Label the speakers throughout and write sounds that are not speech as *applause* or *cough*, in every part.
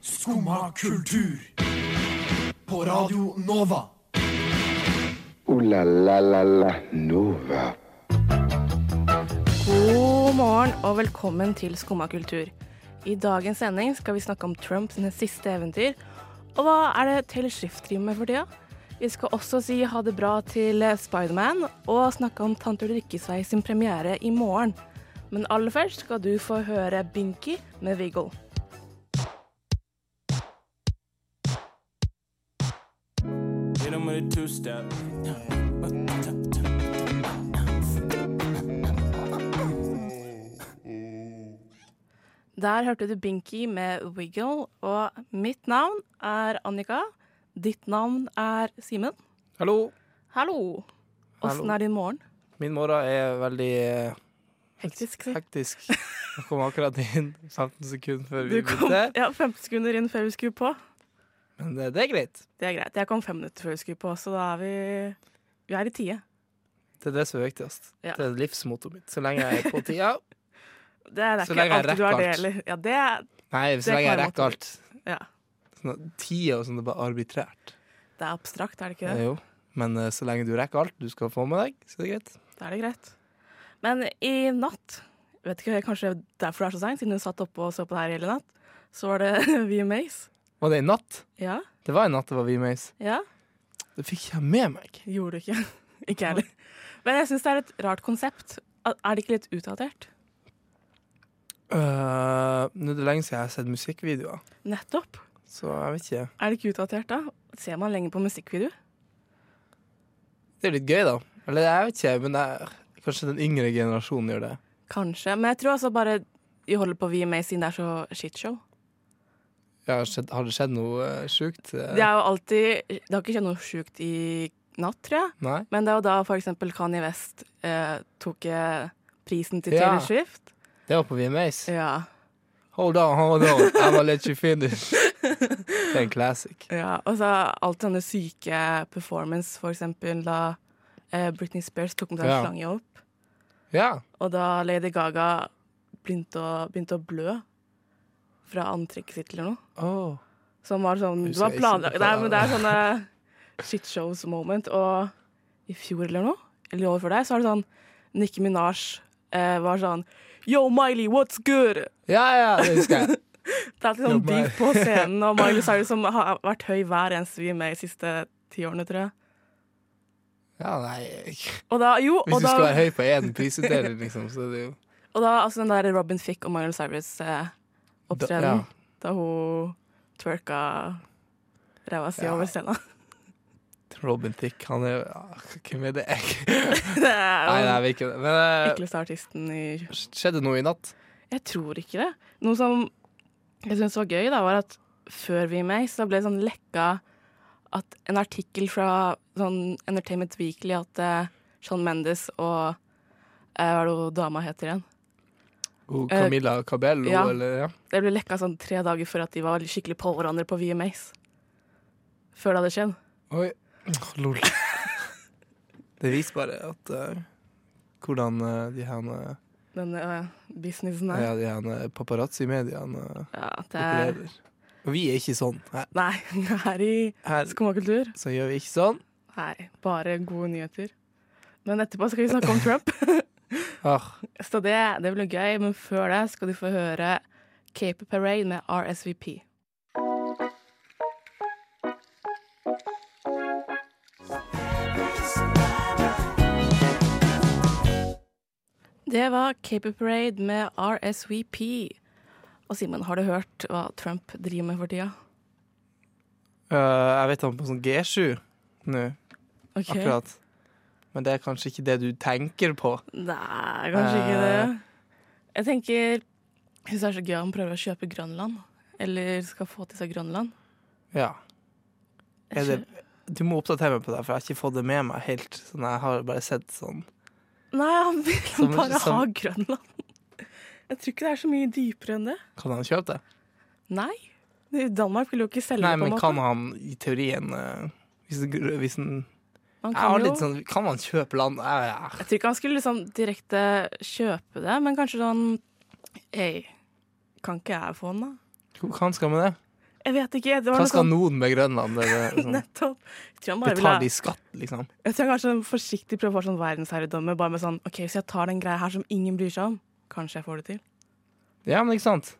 Speaker 1: Skumma kultur. På Radio Nova.
Speaker 2: Ooh la la la la Nova.
Speaker 3: God morgen og velkommen til Skumma kultur. I dagens sending skal vi snakke om Trumps siste eventyr. Og hva er det Taylor Swift driver med for tida? Vi skal også si ha det bra til Spiderman og snakke om Tante Ulrikkesvei sin premiere i morgen. Men aller først skal du få høre Binky med Viggo.
Speaker 4: Hit 'em with a two-step.
Speaker 3: Der hørte du Binky med Wiggle, og mitt navn er Annika. Ditt navn er Simen.
Speaker 5: Hallo.
Speaker 3: Hallo! Åssen er din morgen?
Speaker 5: Min morgen er veldig eh,
Speaker 3: Hektisk, si.
Speaker 5: hektisk. Jeg kom akkurat inn 15 sekunder før
Speaker 3: Du
Speaker 5: vi
Speaker 3: kom
Speaker 5: begynte.
Speaker 3: ja, 15 sekunder inn før vi skulle på.
Speaker 5: Men det, det er greit.
Speaker 3: Det er greit. Jeg kom fem minutter før vi skulle på, så da er vi Vi er i tide.
Speaker 5: Det er det som er viktigst.
Speaker 3: Ja.
Speaker 5: Det er livsmottoet mitt. Så lenge jeg er på
Speaker 3: *laughs*
Speaker 5: tida.
Speaker 3: Det er, det er
Speaker 5: Så
Speaker 3: ikke
Speaker 5: lenge jeg
Speaker 3: alltid du har det
Speaker 5: rekker alt.
Speaker 3: heller. Ja, det er,
Speaker 5: Nei,
Speaker 3: Det er
Speaker 5: så lenge jeg
Speaker 3: klare mottoer.
Speaker 5: rekker alt.
Speaker 3: ja.
Speaker 5: Sånn, at Tida og sånn, det er bare arbitrært.
Speaker 3: det er abstrakt, er det ikke
Speaker 5: Eh,
Speaker 3: det?
Speaker 5: Jo. Men eh, så lenge du rekker alt du skal få med deg, så er det greit.
Speaker 3: Da er det greit. Men i natt, jeg vet ikke, kanskje derfor det er så seint, siden du satt oppe og så på det her hele natt, så var det *laughs* VMAs.
Speaker 5: Var det en natt?
Speaker 3: Ja?
Speaker 5: Det var en natt det var VMAs.
Speaker 3: Ja?
Speaker 5: Det fikk jeg med meg.
Speaker 3: Gjorde du ikke? *laughs* ikke jeg heller. Men jeg syns det er et rart konsept. Er det ikke litt utdatert?
Speaker 5: Eh, Nå er det lenge siden jeg har sett musikkvideoer,
Speaker 3: Nettopp.
Speaker 5: så jeg vet ikke.
Speaker 3: Er det ikke utdatert, da? Ser man lenge på musikkvideo?
Speaker 5: Det er litt gøy, da. Eller jeg vet ikke, men jeg, kanskje den yngre generasjonen gjør det.
Speaker 3: Kanskje. Men jeg tror altså bare de holder på VMA siden det er så shitshow.
Speaker 5: Ja, skjedd, har det skjedd noe eh, sjukt? eh?
Speaker 3: Det er jo alltid Det har ikke skjedd noe sjukt i natt, tror jeg.
Speaker 5: Nei?
Speaker 3: Men det er jo da for eksempel Kanye West eh, tok eh, prisen til
Speaker 5: Ja.
Speaker 3: Taylor Swift.
Speaker 5: Det var på VMAs.
Speaker 3: Ja.
Speaker 5: Hold on, hold on, I will let you finish. Det er en classic.
Speaker 3: ja. Og så alltid denne syke performance, for eksempel da eh, Britney Spears tok med seg en
Speaker 5: Ja.
Speaker 3: slange opp,
Speaker 5: Ja.
Speaker 3: og da Lady Gaga begynte å, begynte å blø fra antrekket sitt eller noe.
Speaker 5: Åh.
Speaker 3: Som var sånn
Speaker 5: Jeg
Speaker 3: Det var
Speaker 5: husker
Speaker 3: planlagt
Speaker 5: ikke på
Speaker 3: Nei,
Speaker 5: det.
Speaker 3: men det er sånne *laughs* shitshows moment. Og i fjor eller noe, eller året før der, så var det sånn Nikki Minaj eh, var sånn Yo, Miley, what's good?
Speaker 5: Ja, ja, det husker jeg.
Speaker 3: Det er alltid sånn
Speaker 5: Yo,
Speaker 3: beef på scenen,
Speaker 5: *laughs*
Speaker 3: og Miley Cyrus som har vært høy hver eneste vi er med i de siste ti årene, tror jeg.
Speaker 5: Ja, nei Hvis
Speaker 3: Og da, jo, og
Speaker 5: du skal
Speaker 3: da,
Speaker 5: være høy på én prisutdeling, liksom, så er det jo
Speaker 3: og da altså den der Robin Thicke og Miley Cyrus-opptredenen,
Speaker 5: Da- ja.
Speaker 3: da hun twerka ræva si
Speaker 5: Ja.
Speaker 3: over scenen. *laughs*
Speaker 5: Robin Thicke, han er ah, Hvem er det? Jeg?
Speaker 3: Det er jo
Speaker 5: Nei, nei,
Speaker 3: den
Speaker 5: vi er ikke det. Men eh,
Speaker 3: ekleste artisten i
Speaker 5: skjedde noe i natt?
Speaker 3: Jeg tror ikke det. Noe som jeg syntes var gøy, da, var at før vi med, så ble det sånn lekka at en artikkel fra sånn Entertainment Weekly at eh, Shawn Mendes og eh, Hva er det hun dama heter igjen?
Speaker 5: Oh, Camilla Cabello,
Speaker 3: Eh, ja.
Speaker 5: eller? Ja.
Speaker 3: Det ble lekka sånn tre dager før at de var skikkelig på hverandre på VMAs. Før det hadde skjedd.
Speaker 5: Oi.
Speaker 3: *laughs*
Speaker 5: lol. Det viser bare at eh, hvordan eh, de her eh,
Speaker 3: Den eh, businessen der.
Speaker 5: ja, de her eh, paparazzi-mediene eh,
Speaker 3: Ja, det er
Speaker 5: opererer. Og vi er ikke sånn. Her,
Speaker 3: Nei, *laughs* her i
Speaker 5: her
Speaker 3: Skummakultur
Speaker 5: så gjør vi ikke sånn.
Speaker 3: Nei, bare gode nyheter. Men etterpå skal vi snakke om Trump.
Speaker 5: Ah,
Speaker 3: Så det, det blir gøy, men før det skal du få høre Cape Parade med RSVP. Det var Cape Parade med RSVP. Og Simen, har du hørt hva Trump driver med for tida?
Speaker 5: eh, jeg vet han på sånn G7 nå,
Speaker 3: Ok.
Speaker 5: akkurat. Men det er kanskje ikke det du tenker på.
Speaker 3: Nei, kanskje ikke
Speaker 5: Eh.
Speaker 3: det. Jeg tenker Jeg syns det er så gøy om han prøver å kjøpe Grønland. Eller skal få til seg Grønland.
Speaker 5: Ja. Er det, du må oppdatere meg på det, for jeg har ikke fått det med meg helt. Sånn, jeg har bare sett sånn
Speaker 3: Nei, han vil
Speaker 5: Som-
Speaker 3: bare ha
Speaker 5: som-
Speaker 3: Grønland. Jeg tror ikke det er så mye dypere enn det.
Speaker 5: Kan han kjøpe det?
Speaker 3: Nei. Danmark vil jo ikke selge det, på
Speaker 5: Nei,
Speaker 3: en
Speaker 5: men
Speaker 3: måte.
Speaker 5: kan han i teorien eh, Hvis, det- hvis en
Speaker 3: Han
Speaker 5: Jeg har
Speaker 3: kan jo,
Speaker 5: litt sånn, kan man kjøpe land? Jeg, jeg,
Speaker 3: jeg tror ikke han skulle liksom direkte kjøpe det, men kanskje sånn Ei, kan ikke jeg få den, da?
Speaker 5: hva han skal med det?
Speaker 3: Jeg vet ikke. Det var
Speaker 5: Hva
Speaker 3: noe
Speaker 5: skal
Speaker 3: sånn
Speaker 5: noen med Grønland? Eller,
Speaker 3: *laughs*
Speaker 5: sånn,
Speaker 3: Nettopp. Jeg tror han bare ville
Speaker 5: betaler de
Speaker 3: ha-
Speaker 5: skatt, liksom?
Speaker 3: Jeg tror han kanskje sånn forsiktig prøver å få sånn verdensherredømme. Bare med sånn OK, så jeg tar den greia her som ingen bryr seg om. Kanskje jeg får det til.
Speaker 5: Ja, men ikke sant?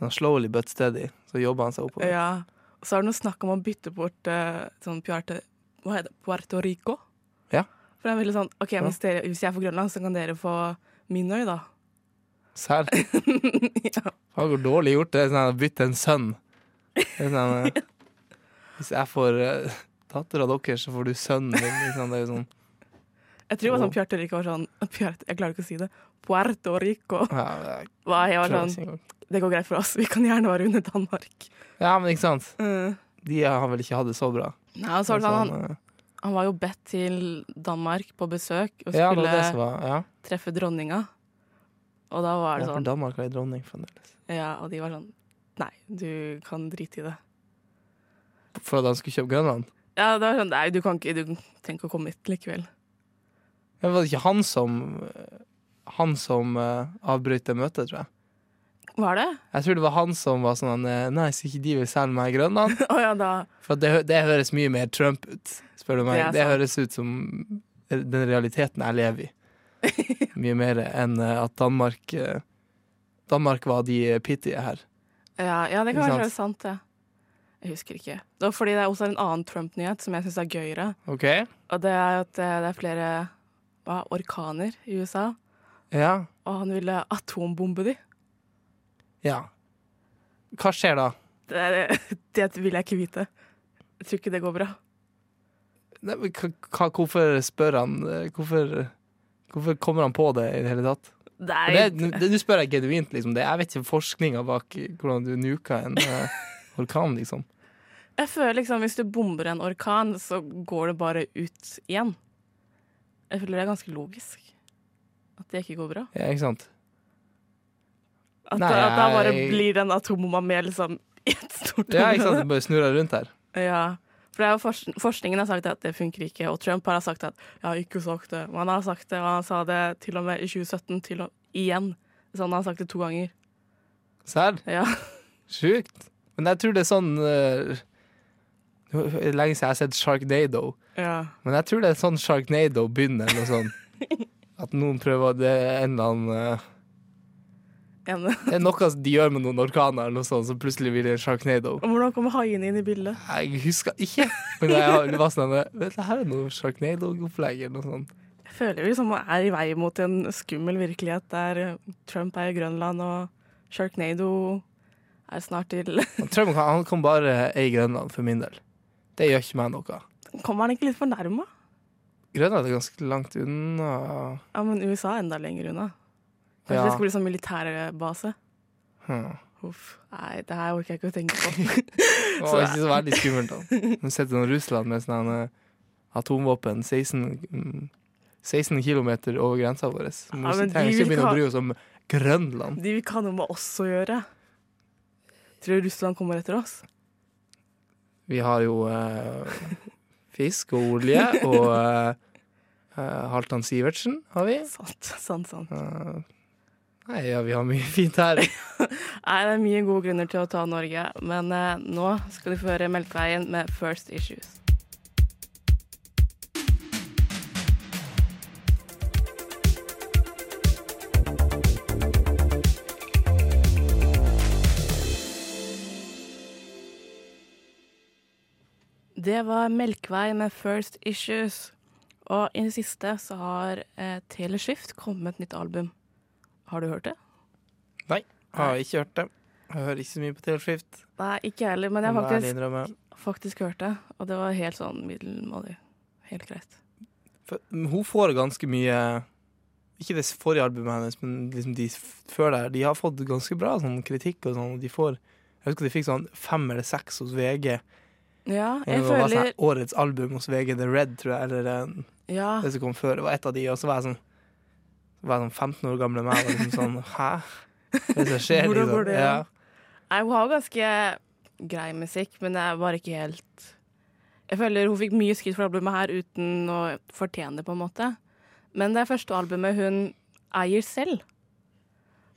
Speaker 5: Sånn slowly but steady. Så jobber han seg oppover.
Speaker 3: Ja. Og så er det noe snakk om å bytte bort eh, sånn Puerte, hva heter det? Puerto Rico.
Speaker 5: Ja.
Speaker 3: For det er veldig sånn OK,
Speaker 5: Ja.
Speaker 3: hvis, dere, hvis jeg får Grønland, så kan dere få min øy, da. *laughs*
Speaker 5: Serr? Faen, hvor dårlig gjort det er sånn, å bytte en sønn. Det er sånn, eh,
Speaker 3: *laughs*
Speaker 5: hvis jeg får uh, dattera deres, så får du sønnen min. Liksom, det er jo sånn
Speaker 3: Jeg tror det var
Speaker 5: Åh.
Speaker 3: sånn Puerto Rico var sånn *laughs* Puerto, Jeg klarer ikke å si det. Puerto Rico. *laughs*
Speaker 5: ja, jeg
Speaker 3: Hva, jeg var
Speaker 5: klarer
Speaker 3: sånn
Speaker 5: ikke engang.
Speaker 3: Det går greit for oss. *laughs* Vi kan gjerne være under
Speaker 5: *laughs*
Speaker 3: Danmark.
Speaker 5: ja, men ikke sant?
Speaker 3: Mm.
Speaker 5: De har vel ikke hatt det så bra.
Speaker 3: Nei, og så var det sånn, han,
Speaker 5: Sånn, eh,
Speaker 3: han var jo bedt til Danmark på besøk og
Speaker 5: ja, det var
Speaker 3: skulle
Speaker 5: det som var Ja,
Speaker 3: treffe dronninga. Og da var
Speaker 5: ja
Speaker 3: det
Speaker 5: for
Speaker 3: sånn
Speaker 5: Danmark har ei dronning fremdeles.
Speaker 3: Ja, og de var sånn Nei, du kan drite i det.
Speaker 5: For at han skulle kjøpe Grønland.
Speaker 3: Ja, det var sånn Nei, du kan ikke Du trenger ikke å komme hit likevel.
Speaker 5: Det var det ikke han som eh, Han som eh, avbryter møtet, tror jeg.
Speaker 3: Var det?
Speaker 5: Jeg tror det var han som var sånn eh, Nei, så ikke de vil selge meg Grønland?
Speaker 3: *laughs* Å ja, da
Speaker 5: For det, hø- det høres mye mer Trump ut, spør du meg.
Speaker 3: Det er
Speaker 5: Det, høres ut som den realiteten jeg lever i. Mye mer enn eh, at Danmark eh, Danmark var de pittige her.
Speaker 3: Ja, ja det
Speaker 5: Ikke
Speaker 3: kan
Speaker 5: sant?
Speaker 3: være være sant, det. Jeg husker ikke. Det var fordi det er også en annen Trump-nyhet som jeg syns er gøyere.
Speaker 5: OK?
Speaker 3: Og det er at eh, det er flere hva, orkaner i USA,
Speaker 5: Ja.
Speaker 3: og han ville atombombe de.
Speaker 5: ja. Hva skjer da?
Speaker 3: Det, er- *laughs* det vil jeg ikke vite. Jeg tror ikke det går bra.
Speaker 5: Nei, men hva, hva- hvorfor spør han eh, Hvorfor, hvorfor kommer han på det i det hele tatt?
Speaker 3: Nei,
Speaker 5: Og det- det- Nå spør jeg genuint, liksom. Det, jeg vet ikke forskninga bak hvordan du nuker en eh, orkan, liksom.
Speaker 3: Jeg føler liksom hvis du bomber en orkan, så går det bare ut igjen. Jeg føler det er ganske logisk. At det ikke går bra.
Speaker 5: Ja, ikke sant?
Speaker 3: At,
Speaker 5: Nei,
Speaker 3: da- at da bare
Speaker 5: jeg-
Speaker 3: blir den atombomba med liksom i et stort
Speaker 5: Ja, ikke sant?
Speaker 3: område.
Speaker 5: Det bare snurrer rundt her.
Speaker 3: Ja. For det er jo fors- forskningen har sagt at det funker ikke, og Trump har sagt at jeg har ikke sagt det. Og han har sagt det, og han sa det til og med i 2017, til og igjen. Så han har sagt det to ganger.
Speaker 5: Serr?
Speaker 3: Ja.
Speaker 5: Sjukt. Men jeg tror det er sånn eh, nå er det Lenge siden jeg har sett Sharknado,
Speaker 3: ja.
Speaker 5: men jeg tror det er sånn Sharknado begynner. Eller noe sånt. At noen prøver det er en eller annen eh,
Speaker 3: En-
Speaker 5: Det er noe de gjør med noen orkaner, eller noe sånt, så plutselig blir det Sharknado.
Speaker 3: Og Hvordan kommer haiene inn i bildet?
Speaker 5: Jeg husker ikke, men jeg har- det var sånn eh, Vet du, her er noe Sharknado-opplegg eller noe sånt.
Speaker 3: Jeg føler vi liksom er i vei mot en skummel virkelighet der eh, Trump er i Grønland og Sharknado er snart til *laughs*
Speaker 5: Han Trump kan- han kan bare eie Grønland, for min del. Det gjør ikke meg noe.
Speaker 3: Kommer han ikke litt fornærma?
Speaker 5: Grønland er ganske langt unna.
Speaker 3: Ja, men USA er enda lenger unna. Kanskje
Speaker 5: Ja.
Speaker 3: det skal bli sånn militærbase?
Speaker 5: Hmm.
Speaker 3: Uff. Nei, det her orker jeg ikke å tenke på.
Speaker 5: Det var ikke så veldig skummelt. *laughs* da. Nå sitter noen Russland med sånn eh, atomvåpen 16, mm, 16 km over grensa vår. Så må
Speaker 3: Ja,
Speaker 5: vi
Speaker 3: men
Speaker 5: trenger
Speaker 3: de
Speaker 5: ikke
Speaker 3: vil
Speaker 5: begynne
Speaker 3: ha-
Speaker 5: å bry oss om Grønland.
Speaker 3: De vil ikke ha noe med oss å gjøre. Tror du Russland kommer etter oss?
Speaker 5: Vi har jo eh, fisk og olje, og eh, eh, Halvdan Sivertsen har vi.
Speaker 3: Sant, sant, sant.
Speaker 5: Eh, nei, ja, vi har mye fint her.
Speaker 3: Nei, det er mye gode grunner til å ta Norge, men eh, nå skal du få høre Melkeveien med First Issues. Det var Melkvei med First Issues. Og i det siste så har eh, Teleskift kommet med et nytt album. Har du hørt det?
Speaker 5: Nei, jeg har ikke hørt det. Jeg hører ikke så mye på Taylor Swift.
Speaker 3: Nei, ikke jeg heller, men jeg
Speaker 5: må
Speaker 3: har
Speaker 5: jeg ærlig
Speaker 3: faktisk
Speaker 5: innrømme.
Speaker 3: faktisk hørte, og det var helt sånn middelmådig. Helt greit.
Speaker 5: For, hun får ganske mye Ikke det forrige albumet hennes, men liksom de f- før der. De har fått ganske bra sånn kritikk og sånn. og De får, jeg husker de fikk sånn fem eller seks hos VG.
Speaker 3: Ja,
Speaker 5: Det
Speaker 3: jeg
Speaker 5: var sånn
Speaker 3: føler
Speaker 5: her, årets album hos VG, The Red, tror jeg, eller eh,
Speaker 3: Ja,
Speaker 5: det som kom før. Det var et av de, og så var jeg sånn så var jeg sånn 15 år gamle meg og liksom sånn *laughs* Hæ? Hva er det som skjer?
Speaker 3: Hvordan går
Speaker 5: Liksom?
Speaker 3: det
Speaker 5: Ja.
Speaker 3: an? nei, hun har jo ganske grei musikk, men det er bare ikke helt Jeg føler hun fikk mye skritt for albumet her uten å fortjene det, på en måte. Men det er første albumet hun eier selv.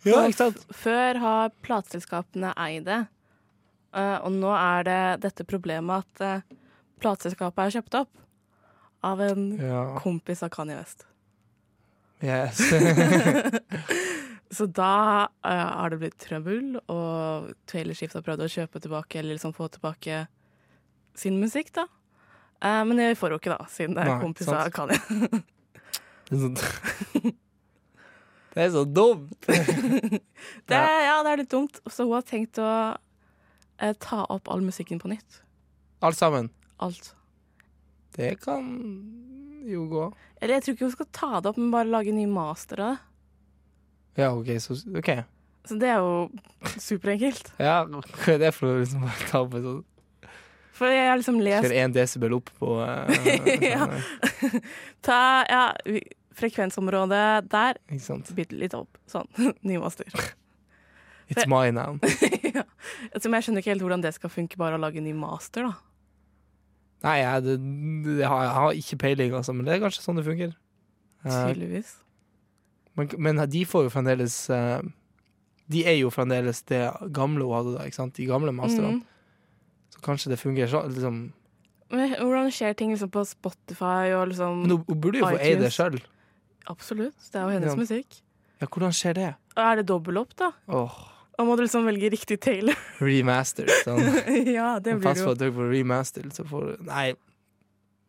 Speaker 5: ja, ikke sant?
Speaker 3: Før har plateselskapene eid det, Eh, og nå er det dette problemet at eh, plateselskapet er kjøpt opp av en
Speaker 5: Ja.
Speaker 3: kompis av Kanye West.
Speaker 5: Yes. *laughs*
Speaker 3: Så da eh, har det blitt trøbbel, og Taylor Swift har prøvd å kjøpe tilbake eller liksom få tilbake sin musikk, da. Eh, men det får hun ikke, da, siden det er
Speaker 5: Nei,
Speaker 3: kompis
Speaker 5: sant.
Speaker 3: av Kanye. *laughs*
Speaker 5: Det er så, sånn- *laughs* det er så dumt!
Speaker 3: Det, er- ja, det er litt dumt. Så hun har tenkt å eh, ta opp all musikken på nytt.
Speaker 5: Alt sammen.
Speaker 3: Alt.
Speaker 5: Det kan jo gå.
Speaker 3: Eller jeg tror ikke hun skal ta det opp, men bare lage en ny master av det.
Speaker 5: Ja, OK. Så, ok.
Speaker 3: Så det er jo superenkelt.
Speaker 5: Ja, *laughs* hva er det for å liksom bare ta på sånn
Speaker 3: For jeg har liksom lest
Speaker 5: Kjøre én desibel opp på eh,
Speaker 3: Ja.
Speaker 5: sånn, eh,
Speaker 3: ta, ja, vi- Frekvensområdet der,
Speaker 5: Ikke sant.
Speaker 3: bitte litt opp. Sånn. *laughs* Ny master.
Speaker 5: It's my name.
Speaker 3: *laughs* ja. Altså, men jeg skjønner ikke helt hvordan det skal funke, bare å lage en ny master, da.
Speaker 5: Nei, jeg, det, det har, jeg har ikke peiling, altså, men det er kanskje sånn det funker. Eh,
Speaker 3: Tydeligvis.
Speaker 5: men, men de får jo fremdeles eh, De er jo fremdeles det gamle hun hadde da, ikke sant? De gamle masterne.
Speaker 3: Mm.
Speaker 5: Så kanskje det fungerer sånn. Liksom.
Speaker 3: Men hvordan skjer ting liksom på Spotify og liksom
Speaker 5: Men hun, hun burde jo få eie det sjøl.
Speaker 3: Absolutt. Det er jo
Speaker 5: Ja.
Speaker 3: hennes musikk.
Speaker 5: Ja, hvordan skjer det?
Speaker 3: Og er det dobbel opp, da?
Speaker 5: Åh,
Speaker 3: Og må du liksom velge riktig Taylor?
Speaker 5: remastered. Sånn.
Speaker 3: *laughs* ja, det blir
Speaker 5: Pass
Speaker 3: det jo.
Speaker 5: på at dere får remastered, så får du Nei,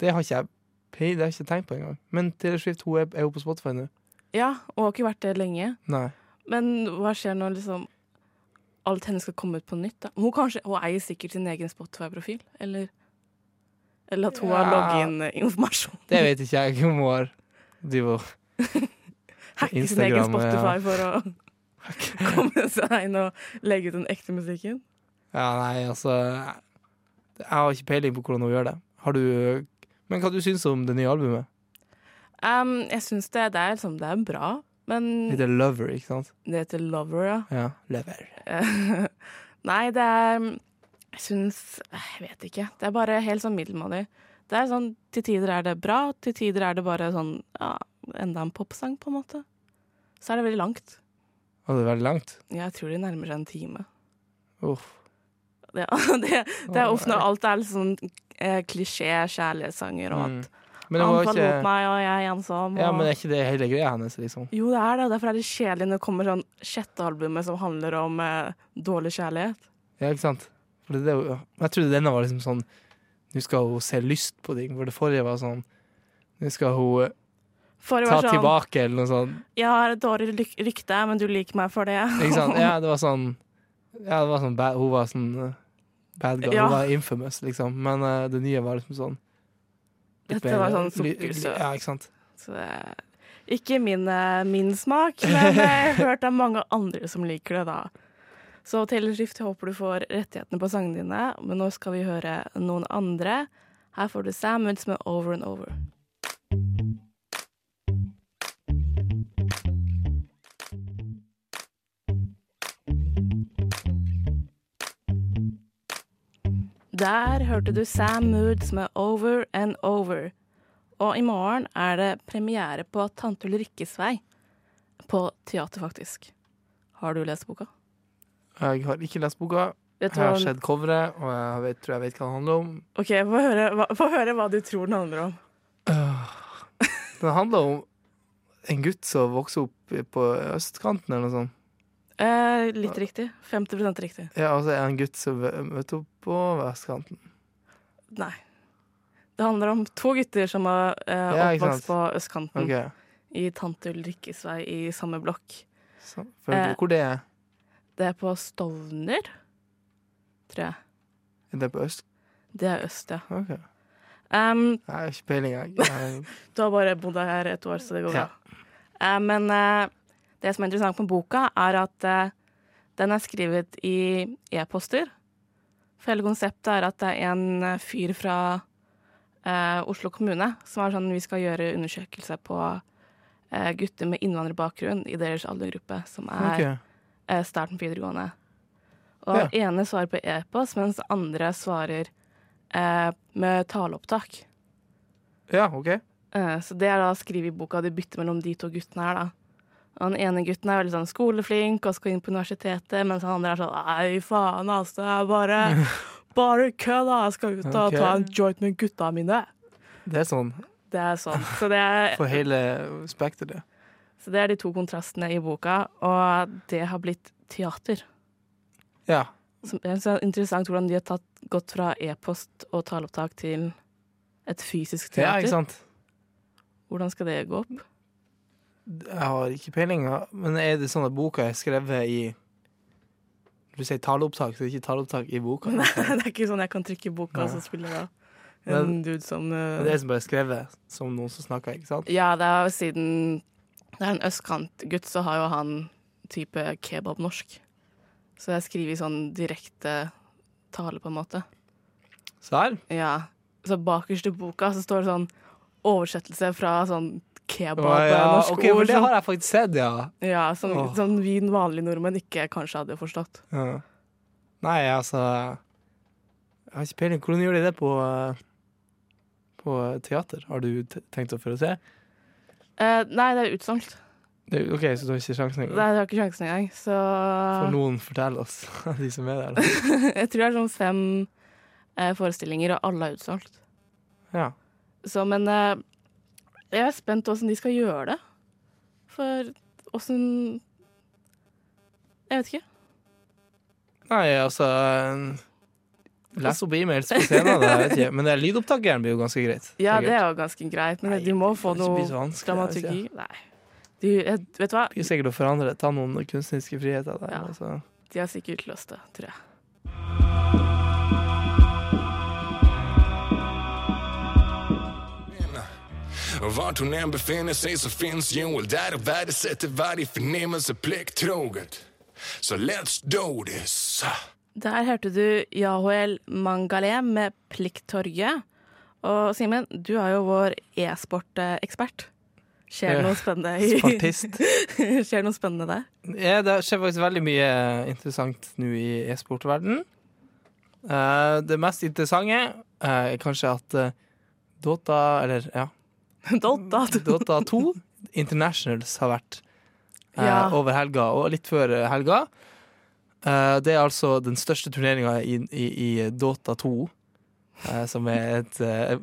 Speaker 5: det har ikke jeg pe- Det har jeg ikke tenkt på engang. Men Taylor Swift hun er, er jo på Spotify nå.
Speaker 3: Ja, og har ikke vært det lenge.
Speaker 5: Nei.
Speaker 3: Men hva skjer når liksom alt hennes skal komme ut på nytt? da? Hun, kanskje, hun eier sikkert sin egen Spotify-profil, eller Eller at hun har eh,
Speaker 5: Ja.
Speaker 3: login-informasjon.
Speaker 5: Det vet ikke jeg om hun har. De var
Speaker 3: Hacke sin egen
Speaker 5: Instagram,
Speaker 3: Spotify
Speaker 5: ja.
Speaker 3: for å
Speaker 5: *laughs*
Speaker 3: komme seg inn og legge ut den ekte musikken.
Speaker 5: Ja, nei, altså Jeg har ikke peiling på hvordan hun gjør det. Har du Men hva du syns om det nye albumet?
Speaker 3: Um, jeg syns det, det, er liksom, det er bra, men
Speaker 5: Det heter Lover, ikke sant?
Speaker 3: det heter Lover, ja. *laughs*
Speaker 5: Ja. Lover.
Speaker 3: Nei, det er um, Jeg syns Jeg vet ikke. Det er bare helt sånn middelmådig. Det er sånn, Til tider er det bra, til tider er det bare sånn ja, Enda en popsang, på en måte. Så er det veldig langt.
Speaker 5: Å, det er veldig langt.
Speaker 3: Ja, Jeg tror de nærmer seg en time. *laughs*
Speaker 5: Uff.
Speaker 3: Det, det, det er ofte når alt er litt sånn eh, klisjé kjærlighetssanger og
Speaker 5: Mm.
Speaker 3: at
Speaker 5: Men det
Speaker 3: han
Speaker 5: var
Speaker 3: forlot
Speaker 5: ikke
Speaker 3: meg, og jeg er ensom. Og...
Speaker 5: Ja, men er ikke det hele greia hennes, liksom?
Speaker 3: Jo, det er det. og Derfor er det kjedelig når det kommer sånn sjette albumet som handler om eh, dårlig kjærlighet.
Speaker 5: Ja, ikke sant? For det, er jo- jeg trodde denne var liksom sånn Nå skal hun se lyst på ting, for det forrige var sånn Nå skal hun eh,
Speaker 3: Forrige
Speaker 5: ta
Speaker 3: var sånn
Speaker 5: tilbake, eller noe sånt.
Speaker 3: 'Jeg har et dårlig lyk- rykte, men du liker meg for det'.
Speaker 5: Ikke
Speaker 3: *laughs*
Speaker 5: sant? Ja, det var sånn Ja, det var sånn bad, Hun var sånn eh, bad guy.
Speaker 3: Ja.
Speaker 5: Hun var infamous, liksom. Men eh, det nye var liksom sånn litt
Speaker 3: Dette var
Speaker 5: mer-
Speaker 3: sånn
Speaker 5: li-
Speaker 3: sukkersøt.
Speaker 5: Ja, ikke sant?
Speaker 3: Så det er ikke min, eh, min smak, men eh, jeg har hørt det er mange andre som liker det, da. Så Taylor Swift, jeg håper du får rettighetene på sangene dine, men nå skal vi høre noen andre. Her får du Samuels med 'Over and Over'. Der hørte du Sam Moods med 'Over and Over'. Og i morgen er det premiere på Tante Ulrikkes vei. På teater, faktisk. Har du lest boka?
Speaker 5: Jeg har ikke lest boka.
Speaker 3: Vet
Speaker 5: Jeg
Speaker 3: du
Speaker 5: har
Speaker 3: hva-
Speaker 5: sett coveret, og jeg vet, tror jeg vet hva det handler om.
Speaker 3: OK, få høre, hva- få høre hva du tror den handler om.
Speaker 5: Den handler om en gutt som vokser opp på østkanten, eller noe sånt.
Speaker 3: Eh, litt riktig. 50 riktig.
Speaker 5: Ja, altså en gutt som v- møtte opp på vestkanten.
Speaker 3: Nei. Det handler om to gutter som er eh,
Speaker 5: Ja, ikke
Speaker 3: oppvokst
Speaker 5: sant.
Speaker 3: på østkanten.
Speaker 5: Ok,
Speaker 3: I Tante Ulrikkes vei i samme blokk.
Speaker 5: så, for,
Speaker 3: Eh.
Speaker 5: Hvor det er?
Speaker 3: Det er på Stovner, tror jeg.
Speaker 5: Er det på øst?
Speaker 3: Det er øst, ja.
Speaker 5: Ok.
Speaker 3: Um,
Speaker 5: Jeg har ikke
Speaker 3: *laughs*
Speaker 5: peiling, jeg. Eh, jeg.
Speaker 3: Du har bare bodd her et år, så det går bra.
Speaker 5: Ja.
Speaker 3: Eh, men eh, det som er interessant med boka, er at eh, den er skrevet i e-poster. For hele konseptet er at det er en eh, fyr fra eh, Oslo kommune som er sånn Vi skal gjøre undersøkelse på eh, gutter med innvandrerbakgrunn i deres aldergruppe, som er
Speaker 5: Ok.
Speaker 3: eh, starten på videregående. Og
Speaker 5: Ja.
Speaker 3: ene svarer på e-post, mens andre svarer eh, med taleopptak.
Speaker 5: Ja, OK.
Speaker 3: Eh, Så det er da å skrive i boka de bytter mellom de to guttene her, da. Og den ene gutten er veldig sånn skoleflink og skal inn på universitetet, mens han andre er sånn Nei, faen, altså. Jeg bare
Speaker 5: *laughs*
Speaker 3: Bare kødd, da. Jeg skal ut og
Speaker 5: Ok.
Speaker 3: ta en joint med gutta mine.
Speaker 5: Det er sånn
Speaker 3: Det er sånn. Så det er,
Speaker 5: for hele spekteret.
Speaker 3: så det er de to kontrastene i boka, og det har blitt teater.
Speaker 5: Ja.
Speaker 3: Som- Det er så interessant hvordan de har tatt, gått fra e-post og taleopptak til et fysisk
Speaker 5: ja, ikke
Speaker 3: teater.
Speaker 5: sant?
Speaker 3: Hvordan skal det gå opp?
Speaker 5: Jeg har ikke peiling, ja. men er det sånn at boka er skrevet i Du sier taleopptak, så det er ikke taleopptak i boka.
Speaker 3: Nei, *laughs* det er ikke sånn jeg kan trykke boka, og så spiller da en dude som eh,
Speaker 5: Det er det som bare er skrevet som noen som snakker, ikke sant?
Speaker 3: Ja, det er jo siden det er en østkantgutt, så har jo han type kebabnorsk. Så jeg skriver i sånn direkte tale, på en måte.
Speaker 5: Se her.
Speaker 3: Ja. Så bakerst i boka så står det sånn oversettelse fra sånn kebab
Speaker 5: Å, ja.
Speaker 3: norsk
Speaker 5: OK, for
Speaker 3: ord.
Speaker 5: det
Speaker 3: Sånn,
Speaker 5: har jeg faktisk sett, ja.
Speaker 3: ja, som,
Speaker 5: Åh.
Speaker 3: som vi vanlige nordmenn ikke kanskje hadde forstått.
Speaker 5: ja. Nei, altså Jeg har ikke peiling. Hvordan gjør de det på eh, På teater? Har du t tenkt å få se?
Speaker 3: Eh, nei, det er utsolgt.
Speaker 5: Det, OK, så du har ikke sjansen
Speaker 3: Det
Speaker 5: engang?
Speaker 3: har jeg ikke sjansen engang. Så
Speaker 5: Får noen fortelle oss, *laughs* de som er der? da.
Speaker 3: jeg tror det er sånn fem eh, forestillinger, og alle er utsolgt.
Speaker 5: Ja.
Speaker 3: Så, men eh, jeg er spent på hvordan de skal gjøre det. For åssen Jeg vet ikke.
Speaker 5: Nei, altså Les opp e-mails på scenen, det vet jeg ikke. Men det lydopptakeren blir jo ganske greit.
Speaker 3: Ja,
Speaker 5: sikkert.
Speaker 3: det er jo ganske greit, men
Speaker 5: Nei,
Speaker 3: de må få
Speaker 5: det
Speaker 3: noe
Speaker 5: blir så sånn, vanskelig,
Speaker 3: dramaturgi. Nei. De, jeg, vet du hva?
Speaker 5: blir sikkert å forandre. Ta noen kunstneriske friheter der.
Speaker 3: Ja.
Speaker 5: Altså.
Speaker 3: De har sikkert løst det, tror jeg.
Speaker 6: Vart hon än befinner sig så finns Joel där och värdesätter varje förnimmelse plikttroget. Så let's do this.
Speaker 3: Der hørte du Yahuel Mangalé med Plikttorget. Og Simen, du er jo vår e-sportekspert. Skjer det
Speaker 5: Ja.
Speaker 3: noe spennende i-
Speaker 5: Spartist.
Speaker 3: *laughs* Skjer det noe spennende der?
Speaker 5: Ja, det skjer faktisk veldig mye eh, interessant nå i e-sportverden. Eh, det mest interessante eh, er kanskje at eh, Dota, eller ja,
Speaker 3: *laughs* Dota.
Speaker 5: Dota
Speaker 3: *laughs*
Speaker 5: 2 Internationals har vært eh,
Speaker 3: Ja.
Speaker 5: over helga, og litt før helga. Eh, det er altså den største turneringa i, i, i Dota 2. eh, som er et eh,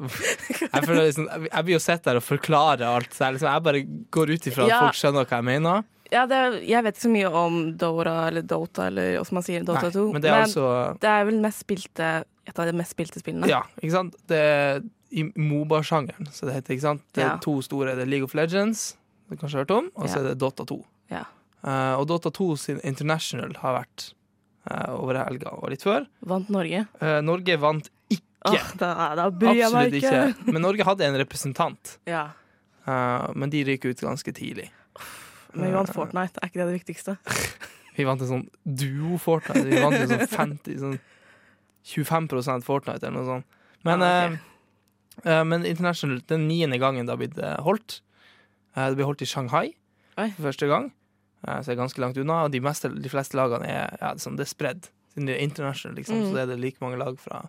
Speaker 5: jeg, føler liksom, jeg blir jo sett der og forklarer alt. Så jeg, liksom, jeg bare går ut ifra at
Speaker 3: Ja.
Speaker 5: folk skjønner hva jeg mener.
Speaker 3: Ja, det er, jeg vet ikke så mye om Dora eller Dota, eller hva man sier, Dota
Speaker 5: Nei,
Speaker 3: 2.
Speaker 5: men det er altså
Speaker 3: det er vel mest spilte, et av de mest spilte spillene.
Speaker 5: Ja, ikke sant? Det er i Moba-sjangeren, så det heter, ikke sant? Det er
Speaker 3: Ja.
Speaker 5: to store, det er League of Legends, du kanskje har hørt om, og så
Speaker 3: Ja.
Speaker 5: er det Dota 2.
Speaker 3: Ja.
Speaker 5: Eh, og Dota 2 sin International har vært eh, over helga og litt før.
Speaker 3: Vant Norge.
Speaker 5: Eh, Norge vant ikke,
Speaker 3: Åh, da, da bryr jeg meg
Speaker 5: absolutt
Speaker 3: ikke.
Speaker 5: ikke, men Norge hadde en representant,
Speaker 3: Ja.
Speaker 5: eh, men de ryker ut ganske tidlig.
Speaker 3: Men vi
Speaker 5: Eh.
Speaker 3: vant Fortnite, er ikke det det viktigste?
Speaker 5: Vi vant en sånn duo Fortnite, vi vant en sånn 50, sånn 25 Fortnite eller noe sånt. Men,
Speaker 3: Ja, Ah, ok.
Speaker 5: eh, eh, men International, den niende gangen det har blitt eh, holdt, Eh, det ble holdt i Shanghai
Speaker 3: Oi.
Speaker 5: for første gang, Eh, så det er ganske langt unna, og de, meste, de fleste lagene er, ja, det er sånn, det er spredd. Siden det er international, liksom,
Speaker 3: Mm.
Speaker 5: så er det like mange lag fra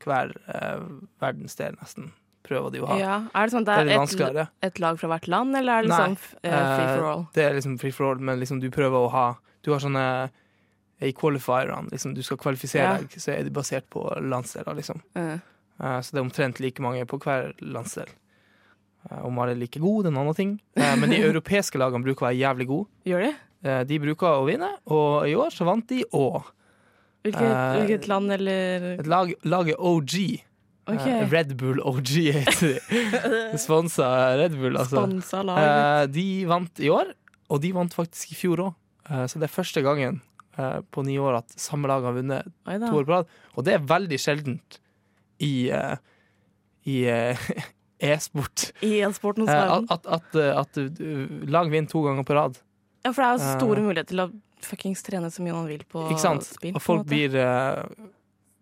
Speaker 5: hver eh, verdensdel, nesten, prøver de å ha.
Speaker 3: Ja. Er det sånn at
Speaker 5: Det er
Speaker 3: det
Speaker 5: litt
Speaker 3: er et,
Speaker 5: vanskeligere.
Speaker 3: et lag fra hvert land, eller er det
Speaker 5: Nei.
Speaker 3: sånn f- eh, free for all?
Speaker 5: Eh, Det er liksom free for all, men liksom du prøver å ha Du har sånne eh, i qualifierne, liksom du skal kvalifisere
Speaker 3: Ja.
Speaker 5: deg, så er det basert på landsdeler, liksom.
Speaker 3: Eh,
Speaker 5: Eh, så det er omtrent like mange på hver landsdel. Eh, om alle er like gode, det er en annen ting.
Speaker 3: *laughs*
Speaker 5: Eh, men de europeiske lagene bruker å være jævlig gode.
Speaker 3: gjør de?
Speaker 5: Eh, de bruker å vinne, og i år så vant de òg.
Speaker 3: Hvilket,
Speaker 5: Eh,
Speaker 3: hvilket land, eller
Speaker 5: Et lag, laget OG.
Speaker 3: OK.
Speaker 5: eh, *laughs* Red Bull OG heter de. Sponsa Red Bull, altså.
Speaker 3: Sponsa lag.
Speaker 5: Eh, de vant i år, og de vant faktisk i fjor òg. så det er første gangen eh, på ni år at samme lag har vunnet
Speaker 3: Oi da.
Speaker 5: to år på rad. Og det er veldig sjeldent i, eh, i eh, *laughs* e-sport.
Speaker 3: I e-sportens
Speaker 5: Eh,
Speaker 3: verden.
Speaker 5: at, at, at, eh, at eh, lag vinner to ganger på rad.
Speaker 3: Ja, for det er jo så store
Speaker 5: eh,
Speaker 3: muligheter til å fuckings trene så mye man vil på
Speaker 5: Ikke sant?
Speaker 3: spill. på en
Speaker 5: Og folk
Speaker 3: måte.
Speaker 5: blir eh,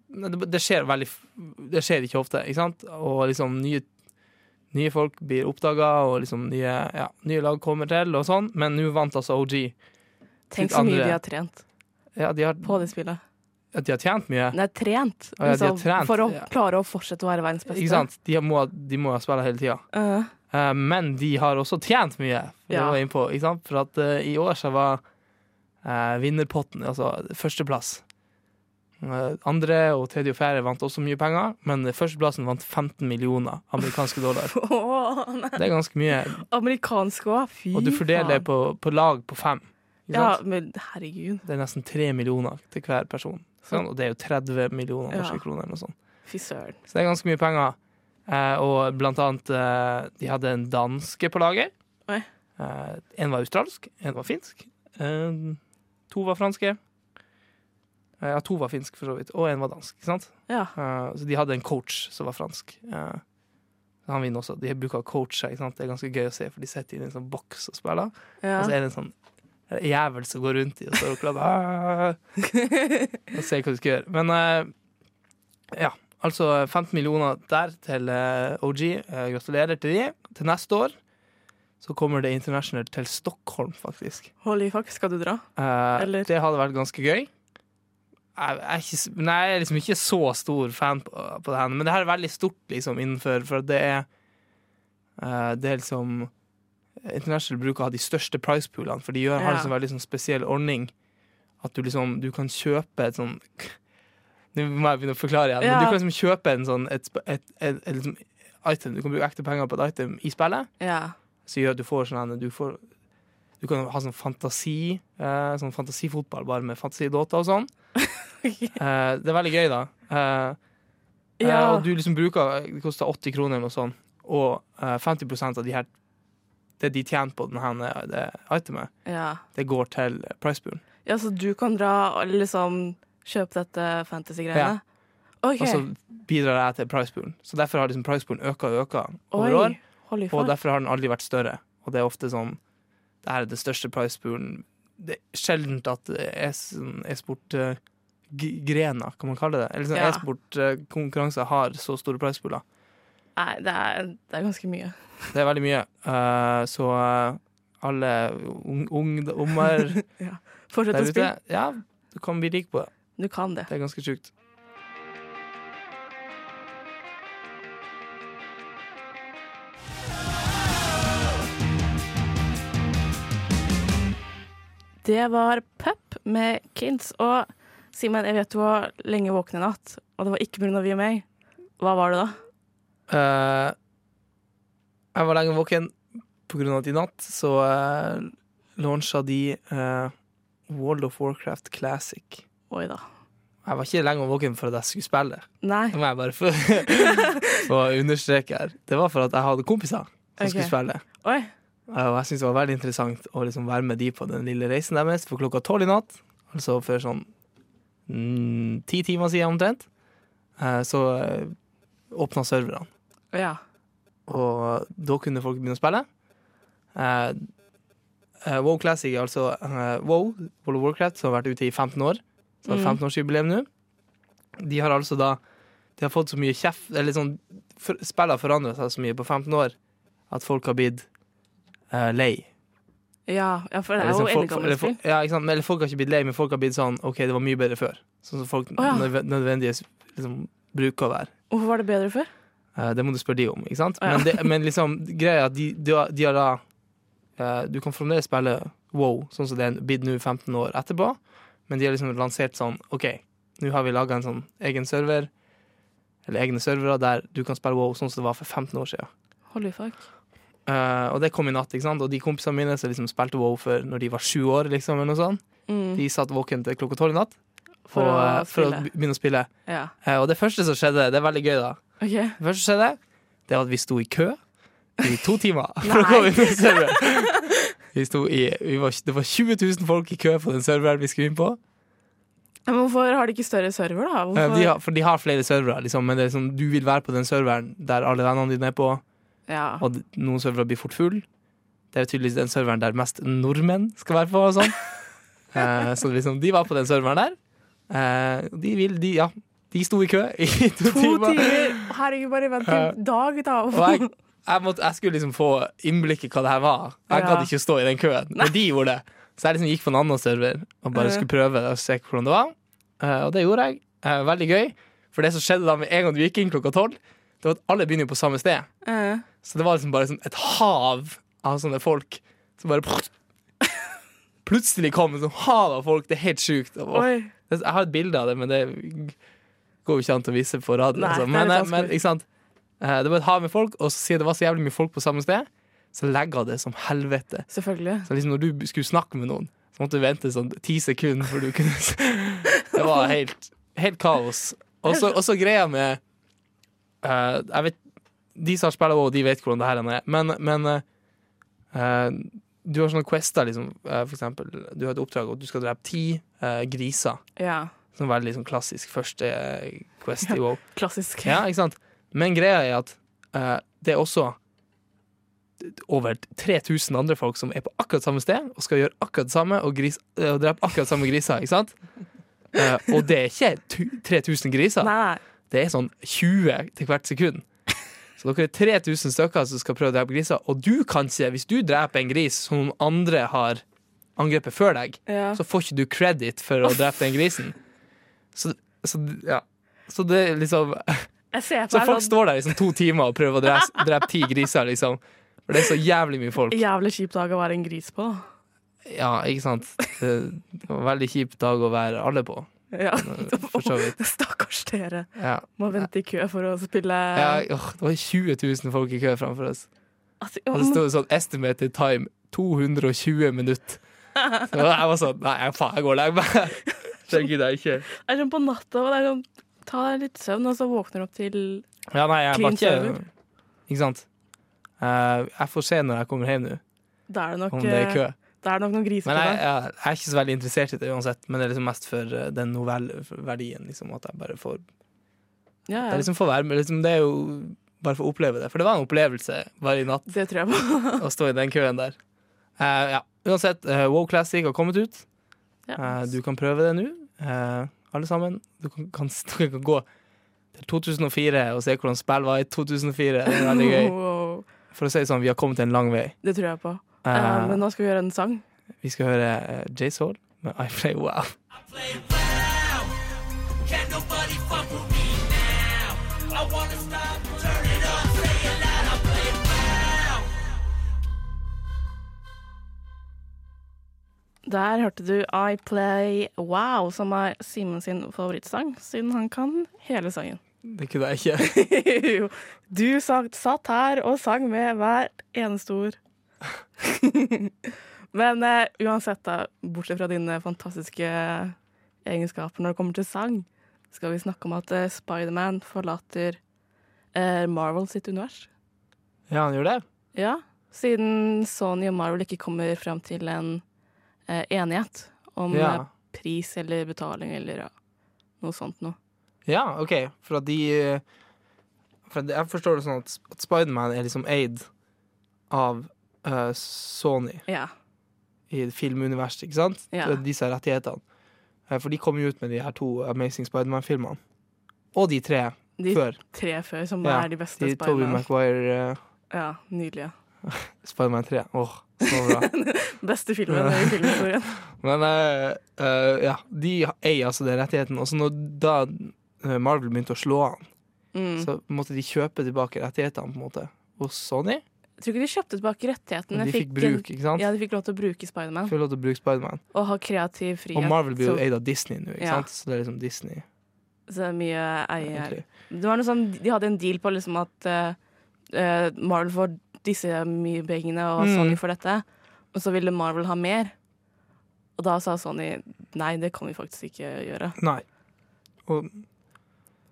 Speaker 5: nei, det, det skjer veldig f- Det skjer ikke ofte, ikke sant? Og liksom nye, nye folk blir oppdaga, og liksom nye, ja, nye lag kommer til, og sånn. Men nå vant altså OG.
Speaker 3: Tenk
Speaker 5: sitt
Speaker 3: så mye
Speaker 5: andre-
Speaker 3: de har trent
Speaker 5: Ja, de har,
Speaker 3: på det spillet.
Speaker 5: at de har tjent mye.
Speaker 3: Nei, trent,
Speaker 5: Å ja, de har
Speaker 3: liksom,
Speaker 5: trent,
Speaker 3: for å
Speaker 5: ja.
Speaker 3: klare å fortsette å være verdens beste.
Speaker 5: Ikke sant? De må, de må ha spillet hele tida.
Speaker 3: Eh, *laughs*
Speaker 5: Eh, men de har også tjent mye, for det
Speaker 3: Ja.
Speaker 5: var jeg inne på. Ikke sant? For at eh, i år så var eh, vinnerpotten, altså førsteplass Eh, Andre og tredje og fjerde vant også mye penger, men førsteplassen vant 15 millioner amerikanske dollar.
Speaker 3: Åh, nei.
Speaker 5: Det er ganske mye.
Speaker 3: Amerikansk òg, fy
Speaker 5: Og du fordeler det
Speaker 3: faen.
Speaker 5: på, på lag på fem. Ikke
Speaker 3: Ja,
Speaker 5: sant?
Speaker 3: men herregud.
Speaker 5: Det er nesten tre millioner til hver person. ikke sant? Og det er jo 30 millioner
Speaker 3: Ja.
Speaker 5: norske kroner. Eller noe sånt.
Speaker 3: Fy søren.
Speaker 5: Så det er ganske mye penger. Eh, og blant annet eh, De hadde en danske på laget.
Speaker 3: Oi.
Speaker 5: Eh, en var australsk, en var finsk. Eh, to var franske. Eh, ja, to var finsk, for så vidt. Og en var dansk. ikke sant?
Speaker 3: Ja.
Speaker 5: Eh, så de hadde en coach som var fransk. Eh, han vinner også. De bruker coacher. Ikke sant? Det er ganske gøy å se, for de setter inn en sånn boks og spiller.
Speaker 3: ja.
Speaker 5: Og så er det en sånn jævel som går rundt i og står og klapper. «Ah!» Og ser hva du skal gjøre. Men eh, ja. Altså 15 millioner der til eh, OG. Eh, gratulerer til de. Til neste år så kommer det International til Stockholm, faktisk.
Speaker 3: Holy fuck, skal du dra?
Speaker 5: Eh,
Speaker 3: Eller-
Speaker 5: Det hadde vært ganske gøy. Jeg jeg er, ikke, s- nei, jeg er liksom ikke så stor fan på, på det her, men det her er veldig stort liksom, innenfor, for det er eh, Det er liksom International bruker å ha de største pricepoolene, for de gjør, har
Speaker 3: Ja.
Speaker 5: en sånn veldig sånn spesiell ordning at du liksom Du kan kjøpe et sånn *laughs* Nå må jeg begynne å forklare igjen, men
Speaker 3: Ja.
Speaker 5: du kan liksom kjøpe en sånn, et, sp- et, et, et, liksom item. Du kan bruke ekte penger på et item i spillet
Speaker 3: Ja.
Speaker 5: som gjør at du får sånn en- du, får, du kan ha sånn fantasi eh, Sånn fantasifotball bare med fantasidåter
Speaker 3: *laughs*
Speaker 5: og sånn. Eh, det er veldig gøy, da. Eh, eh,
Speaker 3: Ja.
Speaker 5: og du liksom bruker Det koster 80 kroner eller noe sånt, og eh, 50 av de her det de tjener på denne det itemet,
Speaker 3: ja.
Speaker 5: det går til priceboolen.
Speaker 3: Ja, så du kan dra og liksom kjøpe dette fantasy-greiene? OK.
Speaker 5: Og så bidrar jeg til priceboolen. Så derfor har liksom priceboolen øka og øka over år.
Speaker 3: Oi. Holy
Speaker 5: Og
Speaker 3: fuck.
Speaker 5: derfor har den aldri vært større. Og det er ofte sånn Det her er det største prizepoolen Det er sjeldent at det er sånn e-sport-grener, kan man kalle det. Eller sånn
Speaker 3: Ja.
Speaker 5: e-sport-konkurranser har så store prizepooler.
Speaker 3: Nei, det er, det er ganske mye.
Speaker 5: Det er veldig mye. Eh, så eh, alle un ungdommer
Speaker 3: Fortsett å
Speaker 5: der ute
Speaker 3: spille.
Speaker 5: Ja, du kan bli rik på det.
Speaker 3: Du kan det.
Speaker 5: Det er ganske sjukt.
Speaker 3: Det var Pep med Kids. Og Simen, jeg vet du var lenge våken i natt, og det var ikke pga. vi og meg. Hva var det da?
Speaker 5: Eh, jeg var lenge våken på grunn av at i natt så uh, launcha de eh, World of Warcraft Classic.
Speaker 3: Oi da.
Speaker 5: Jeg var ikke lenge våken for at jeg skulle spille.
Speaker 3: Nei.
Speaker 5: Det må jeg bare få, få understreke her. Det var for at jeg hadde kompiser som
Speaker 3: Ok.
Speaker 5: skulle spille.
Speaker 3: Oi.
Speaker 5: Eh, Og jeg syntes det var veldig interessant å liksom være med de på den lille reisen deres for klokka tolv i natt. Altså for sånn mm, ti timer siden omtrent. Eh, så uh, åpna serverne.
Speaker 3: Ja.
Speaker 5: Og eh, da kunne folk begynne å spille. Eh, eh, WoW Classic, altså eh, WoW, World of Warcraft, som har vært ute i 15 år. Så har
Speaker 3: Mm.
Speaker 5: 15-årsjubileum nå. De har altså da De har fått så mye kjeft Eller sånn for, Spillet har forandra seg så mye på 15 år at folk har blitt eh, lei.
Speaker 3: Ja, ja, for det er
Speaker 5: Eller
Speaker 3: jo
Speaker 5: sånn, folk,
Speaker 3: eldgammelt
Speaker 5: eller,
Speaker 3: spill.
Speaker 5: folk, ja, ikke sant? Men Eller folk har ikke blitt lei, men folk har blitt sånn OK, det var mye bedre før. Sånn som folk
Speaker 3: ja.
Speaker 5: nødve- nødvendigvis liksom, bruker å være.
Speaker 3: Hvorfor var det bedre før?
Speaker 5: Eh, Det må du spørre de om, ikke sant?
Speaker 3: Å, ja.
Speaker 5: Men, det, men liksom, greia er at de, de, har- de har da eh, Du kan fremdeles spille WoW, sånn som det er blitt nå 15 år etterpå, men de har liksom lansert sånn OK, nå har vi laga en sånn egen server, eller egne servere, der du kan spille WoW sånn som det var for 15 år siden.
Speaker 3: Holy fuck.
Speaker 5: Eh, og det kom i natt, ikke sant? og de kompisene mine som liksom spilte WoW før når de var sju år, liksom, eller noe sånt,
Speaker 3: Mm.
Speaker 5: de satt våken til klokka tolv i natt
Speaker 3: For,
Speaker 5: og,
Speaker 3: å
Speaker 5: eh, for å
Speaker 3: spille.
Speaker 5: begynne å spille.
Speaker 3: Ja.
Speaker 5: Eh, og det første som skjedde, det er veldig gøy, da.
Speaker 3: OK.
Speaker 5: Det første som skjedde, det var at vi sto i kø i to timer. For å komme inn på serveren.
Speaker 3: *laughs*
Speaker 5: Vi sto i, vi var, det var 20 000 folk i kø på den serveren vi skulle inn på.
Speaker 3: Men hvorfor har de ikke større server, da?
Speaker 5: Eh,
Speaker 3: Hvorfor?
Speaker 5: De har, for de har flere servere, liksom, men det er liksom, du vil være på den serveren der alle vennene dine er på,
Speaker 3: Ja.
Speaker 5: og d- noen servere blir fort full. Det er tydeligvis den serveren der mest nordmenn skal være på. Og
Speaker 3: *laughs*
Speaker 5: sånn. Eh, så liksom, de var på den serveren der. Eh, de, vil, de, ja, de sto i kø i to,
Speaker 3: To timer! Herregud, bare vent
Speaker 5: Ja.
Speaker 3: en dag, da.
Speaker 5: Og jeg, jeg, måtte, jeg skulle liksom få innblikk i hva det her var. Jeg
Speaker 3: Ja.
Speaker 5: gadd ikke å stå i den køen, men de gjorde det. Så jeg liksom gikk på en annen server og bare
Speaker 3: Ja.
Speaker 5: skulle prøve og se hvordan det var. Eh, og det gjorde jeg. Eh, veldig gøy. For det som skjedde da med en gang du gikk inn klokka tolv, det var at alle begynner jo på samme sted.
Speaker 3: *laughs* Eh,
Speaker 5: Så det var liksom bare sånn et hav av sånne folk som
Speaker 3: *laughs*
Speaker 5: bare Plutselig kom et sånt hav av folk. Det er helt sjukt. Og-
Speaker 3: Oi.
Speaker 5: Jeg har et bilde av det, men det går jo ikke an til å vise på radio.
Speaker 3: Nei, det
Speaker 5: altså.
Speaker 3: er
Speaker 5: men,
Speaker 3: litt vanskelig.
Speaker 5: men ikke sant? Eh, Det var et hav med folk, og så sier jeg det var så jævlig mye folk på samme sted. Så legger jeg det som helvete.
Speaker 3: Selvfølgelig.
Speaker 5: Så liksom når du skulle snakke med noen, så måtte du vente sånn ti sekunder før du kunne *laughs* s- Det var helt, helt kaos. Og så og så greia med eh, Jeg vet De som har spilt WoW, de vet hvordan det her er, men, men eh, eh, du har sånne quester, liksom. eh, for eksempel, du har et oppdrag og du skal drepe ti eh, griser.
Speaker 3: Ja.
Speaker 5: Sånn veldig sånn klassisk første eh, quest i WoW.
Speaker 3: Klassisk.
Speaker 5: Ja, ikke sant? Men greia er at eh, det er også over 3000 andre folk som er på akkurat samme sted og skal gjøre akkurat det samme og, gris, eh, og drepe akkurat samme griser, ikke
Speaker 3: *laughs*
Speaker 5: sant? Eh, og det er ikke tu- 3000 griser,
Speaker 3: Nei, nei.
Speaker 5: det er sånn 20 til hvert sekund. Så dere er 3000 stykker som skal prøve å drepe griser, og du kan ikke, hvis du dreper en gris som noen andre har angrepet før deg,
Speaker 3: Ja.
Speaker 5: så får ikke du credit for å drepe den grisen. Så, så ja. Så det er liksom
Speaker 3: Jeg ser på
Speaker 5: så
Speaker 3: deg
Speaker 5: folk
Speaker 3: sånn
Speaker 5: står der i liksom, to timer og prøver å drepe, drepe ti griser, liksom. For det er så jævlig mye folk.
Speaker 3: Jævlig kjip dag å være en gris på, da.
Speaker 5: Ja, ikke sant. Det var en veldig kjip dag å være alle på,
Speaker 3: Ja.
Speaker 5: for så vidt.
Speaker 3: Stakkars dere.
Speaker 5: Ja.
Speaker 3: Må vente i kø for å spille
Speaker 5: Ja, åh, det var 20 000 folk i kø framfor oss.
Speaker 3: altså,
Speaker 5: Og det sto sånn estimated time 220 minutter. Så jeg var sånn Nei, faen, jeg går og legger meg. *laughs* Det gidder jeg ikke.
Speaker 3: Det er sånn på natta, og det er sånn Ta deg litt søvn, og så våkner du opp til
Speaker 5: Ja, nei, jeg
Speaker 3: Clean
Speaker 5: var ikke
Speaker 3: server.
Speaker 5: Ikke sant. Eh, jeg får se når jeg kommer hjem nå,
Speaker 3: Da er det nok,
Speaker 5: om det er kø.
Speaker 3: eh, da er det nok noen griser
Speaker 5: Men
Speaker 3: på
Speaker 5: jeg,
Speaker 3: deg.
Speaker 5: jeg, jeg er ikke så veldig interessert i det uansett, men det er liksom mest for eh, den novelleverdien. Liksom, at jeg bare får
Speaker 3: Ja,
Speaker 5: Det
Speaker 3: ja.
Speaker 5: er liksom for være med, liksom, det er jo bare for å oppleve det. For det var en opplevelse bare i
Speaker 3: *laughs*
Speaker 5: natt
Speaker 3: Det tror jeg på.
Speaker 5: å stå i den køen der. Eh, ja. Uansett, eh, Wow Classic har kommet ut.
Speaker 3: Ja.
Speaker 5: Eh, du kan prøve det nå, eh, alle sammen. Du kan, kan, *laughs* du kan gå til 2004 og se hvordan spill var i 2004. Det er veldig gøy.
Speaker 3: *laughs* Wow.
Speaker 5: For å si det sånn, vi har kommet en lang vei.
Speaker 3: Det tror jeg på.
Speaker 5: Eh,
Speaker 3: Eh, men nå skal vi gjøre en sang.
Speaker 5: Vi skal høre eh, Jay Soul med I Play Wow.
Speaker 3: Der hørte du I Play Wow, som er Simen sin favorittsang, siden han kan hele sangen.
Speaker 5: Det kunne jeg ikke. *laughs*
Speaker 3: Jo, *laughs* du sang, satt her og sang med hver eneste ord. *laughs* Men eh, uansett, da, bortsett fra dine fantastiske egenskaper når det kommer til sang, skal vi snakke om at eh, Spiderman forlater eh, Marvel sitt univers.
Speaker 5: Ja, han gjorde det.
Speaker 3: Ja, siden Sony og Marvel ikke kommer fram til en eh, enighet om
Speaker 5: Ja.
Speaker 3: eh, pris eller betaling eller ja, noe sånt noe.
Speaker 5: Ja, OK. For at de eh, for at Jeg forstår det sånn at, at Spiderman er liksom eid av eh, Sony
Speaker 3: Ja.
Speaker 5: i filmuniverset, ikke sant?
Speaker 3: Ja.
Speaker 5: Det er De som har rettighetene. Eh, For de kom jo ut med de her to Amazing Spiderman-filmene. Og de tre
Speaker 3: De
Speaker 5: før.
Speaker 3: tre før som
Speaker 5: Ja,
Speaker 3: er de beste
Speaker 5: De Tobey
Speaker 3: Spiderman.
Speaker 5: Maguire, uh,
Speaker 3: Ja, nydelig. Ja.
Speaker 5: Spiderman 3. Åh, så
Speaker 3: *laughs*
Speaker 5: bra.
Speaker 3: Beste filmen i
Speaker 5: *laughs*
Speaker 3: filmhistorien.
Speaker 5: Men eh, eh, ja, de eier altså den rettigheten. Og så når da eh, Marvel begynte å slå an,
Speaker 3: Mm.
Speaker 5: så måtte de kjøpe tilbake rettighetene på en måte hos Sony.
Speaker 3: Jeg tror ikke de kjøpte tilbake rettighetene.
Speaker 5: Men de fikk bruk, ikke sant?
Speaker 3: Ja, de fikk lov til å bruke Spiderman
Speaker 5: Får lov til å bruke Spiderman.
Speaker 3: og ha kreativ frihet.
Speaker 5: Og Marvel blir jo
Speaker 3: så,
Speaker 5: eid av Disney nå, ikke
Speaker 3: Ja.
Speaker 5: sant? Så det er liksom Disney.
Speaker 3: så det er mye eie her.
Speaker 5: egentlig.
Speaker 3: Det var noe sånn, de hadde en deal på liksom at eh, eh, Marvel får disse mye pengene, og
Speaker 5: Mm.
Speaker 3: Sony får dette. Og så ville Marvel ha mer. Og da sa Sony nei, det kan vi faktisk ikke gjøre.
Speaker 5: Nei. Og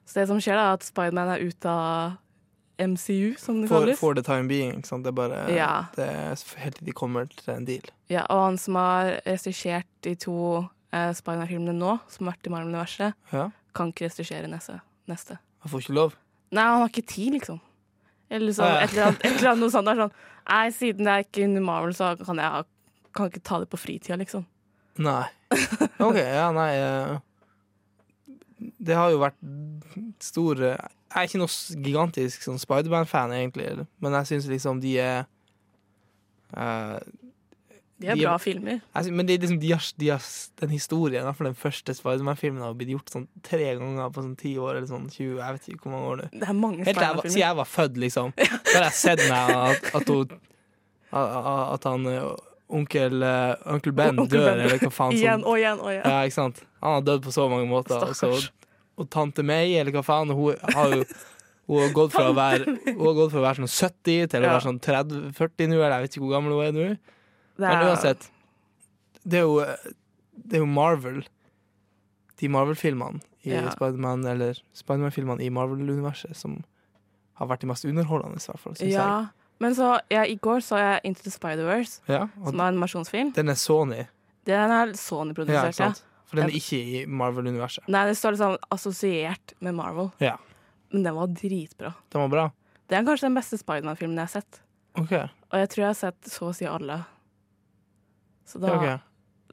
Speaker 3: Så det som skjer, da, er at Spiderman er ute av MCU, som det
Speaker 5: for,
Speaker 3: kalles.
Speaker 5: for the time being, ikke sant? Det er bare
Speaker 3: Ja.
Speaker 5: det er helt til de kommer til en deal.
Speaker 3: Ja, og han som har regissert de to eh, Spiderman-filmene nå, som har vært i Marvel-universet,
Speaker 5: Ja.
Speaker 3: kan ikke regissere neste. neste.
Speaker 5: Jeg får ikke lov.
Speaker 3: Nei, han har ikke tid, liksom. Eller liksom,
Speaker 5: Ah, ja.
Speaker 3: et, eller annet, et eller annet noe sånt. Der, sånn, Nei, siden det er ikke under Marvel, så kan jeg ha- kan ikke ta det på fritida, liksom.
Speaker 5: Nei. OK, ja, nei eh, Det har jo vært stor eh, Jeg er ikke noe s- gigantisk sånn Spiderman-fan, egentlig, eller- men jeg syns liksom de er eh,
Speaker 3: De er
Speaker 5: De er-
Speaker 3: bra filmer.
Speaker 5: Jeg sy- Men det er liksom, de har, de har, den historien, i hvert fall den første Spiderman-filmen, har blitt gjort sånn tre ganger på sånn ti år, eller sånn 20, jeg vet ikke hvor mange år nå.
Speaker 3: Det er mange
Speaker 5: Helt til jeg var- siden
Speaker 3: Spiderman-filmer.
Speaker 5: jeg var født,
Speaker 3: *laughs*
Speaker 5: liksom. Da har jeg sett meg at, at, hun, at- at han eh, onkel, eh, onkel Ben
Speaker 3: Onkel
Speaker 5: dør,
Speaker 3: Ben.
Speaker 5: eller hva faen
Speaker 3: Igjen
Speaker 5: som
Speaker 3: og igjen og igjen.
Speaker 5: ja, ikke sant? Han har dødd på så mange måter. og så-
Speaker 3: Stakkars.
Speaker 5: og tante May, eller hva faen, hun har jo hun har gått fra å være, hun har gått fra å være sånn 70 til å
Speaker 3: Ja.
Speaker 5: være sånn 30-40 nå, eller jeg vet ikke hvor gammel hun er nå.
Speaker 3: Det er-
Speaker 5: Men uansett, det er jo, det er jo Marvel. De Marvel-filmene i
Speaker 3: Ja.
Speaker 5: Spiderman, eller Spiderman-filmene i Marvel-universet, som har vært de mest underholdende, i hvert fall. Synes
Speaker 3: Ja. Men så, ja, i går så jeg Into the Spider-Verse,
Speaker 5: jeg. Ja, og
Speaker 3: som er en animasjonsfilm.
Speaker 5: den er Sony,
Speaker 3: Den er
Speaker 5: ja,
Speaker 3: Sony-produsert,
Speaker 5: ikke
Speaker 3: ja.
Speaker 5: sant? For den er ikke i Marvel-universet.
Speaker 3: Nei, det står liksom assosiert med Marvel,
Speaker 5: Ja,
Speaker 3: men den var dritbra.
Speaker 5: den var bra.
Speaker 3: Det er kanskje den beste Spiderman-filmen jeg har sett.
Speaker 5: Ok,
Speaker 3: Og jeg tror jeg har sett så å si alle. Så da,
Speaker 5: ja,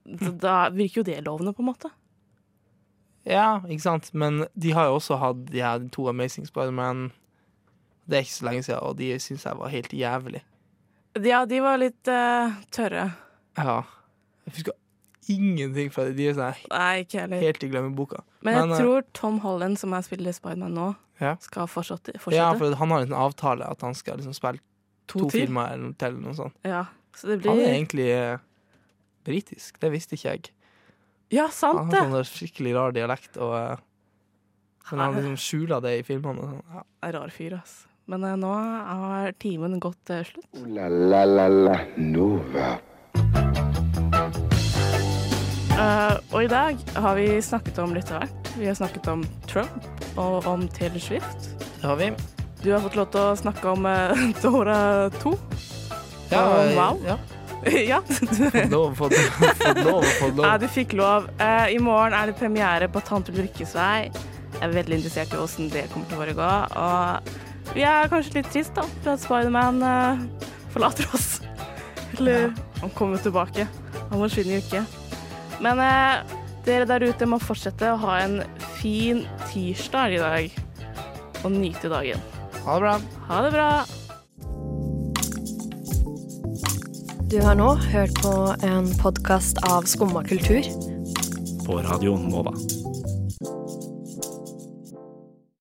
Speaker 5: ok.
Speaker 3: da, da virker jo det lovende, på en måte.
Speaker 5: Ja, ikke sant? Men de har jo også hatt de her to Amazing Spider-Man. Det er ikke så lenge siden, og de syns jeg var helt jævlig.
Speaker 3: Ja, de var litt eh, tørre.
Speaker 5: Ja. Jeg husker ingenting fra de. De er sånn her
Speaker 3: Nei, ikke heller.
Speaker 5: helt i glemmeboka.
Speaker 3: Men jeg
Speaker 5: Men, eh,
Speaker 3: tror Tom Holland, som jeg spiller Spiderman nå,
Speaker 5: Ja.
Speaker 3: skal fortsette. fortsette.
Speaker 5: Ja, for han har en avtale at han skal liksom spille to,
Speaker 3: til.
Speaker 5: filmer eller noe- til. eller Noe sånt.
Speaker 3: Ja, så det
Speaker 5: Han er
Speaker 3: blir
Speaker 5: egentlig eh, britisk, det visste ikke jeg.
Speaker 3: Ja,
Speaker 5: Han
Speaker 3: sant
Speaker 5: har
Speaker 3: det!
Speaker 5: sånn der skikkelig rar dialekt, og, eh, men han liksom skjuler det i filmene. og sånn. Ja.
Speaker 3: Det er Rar fyr, ass. Men eh, nå har timen gått til slutt.
Speaker 2: Ooh la la la la Nova.
Speaker 3: Eh, og i dag har vi snakket om litt av hvert. Vi har snakket om Trump og om Taylor Swift.
Speaker 5: Det har vi.
Speaker 3: Du har fått lov til å snakke om uh, *laughs* Dora 2.
Speaker 5: Ja,
Speaker 3: Og wow.
Speaker 5: ja.
Speaker 3: *laughs* ja.
Speaker 5: Fått lov, fått lov, fått lov. Fått lov.
Speaker 3: ja, du fikk lov. Eh, I morgen er det premiere på Tante Ulrikkes vei. Jeg er veldig interessert i hvordan det kommer til å foregå. Og vi er kanskje litt trist da, for at Spiderman uh, forlater oss. Eller han kommer tilbake. Han forsvinner jo ikke. Men eh, dere der ute må fortsette å ha en fin tirsdag i dag. Og nyte dagen.
Speaker 5: Ha det bra.
Speaker 3: Ha det bra.
Speaker 7: Du har nå hørt på en podkast av Skumma kultur.
Speaker 8: på Radio Nova.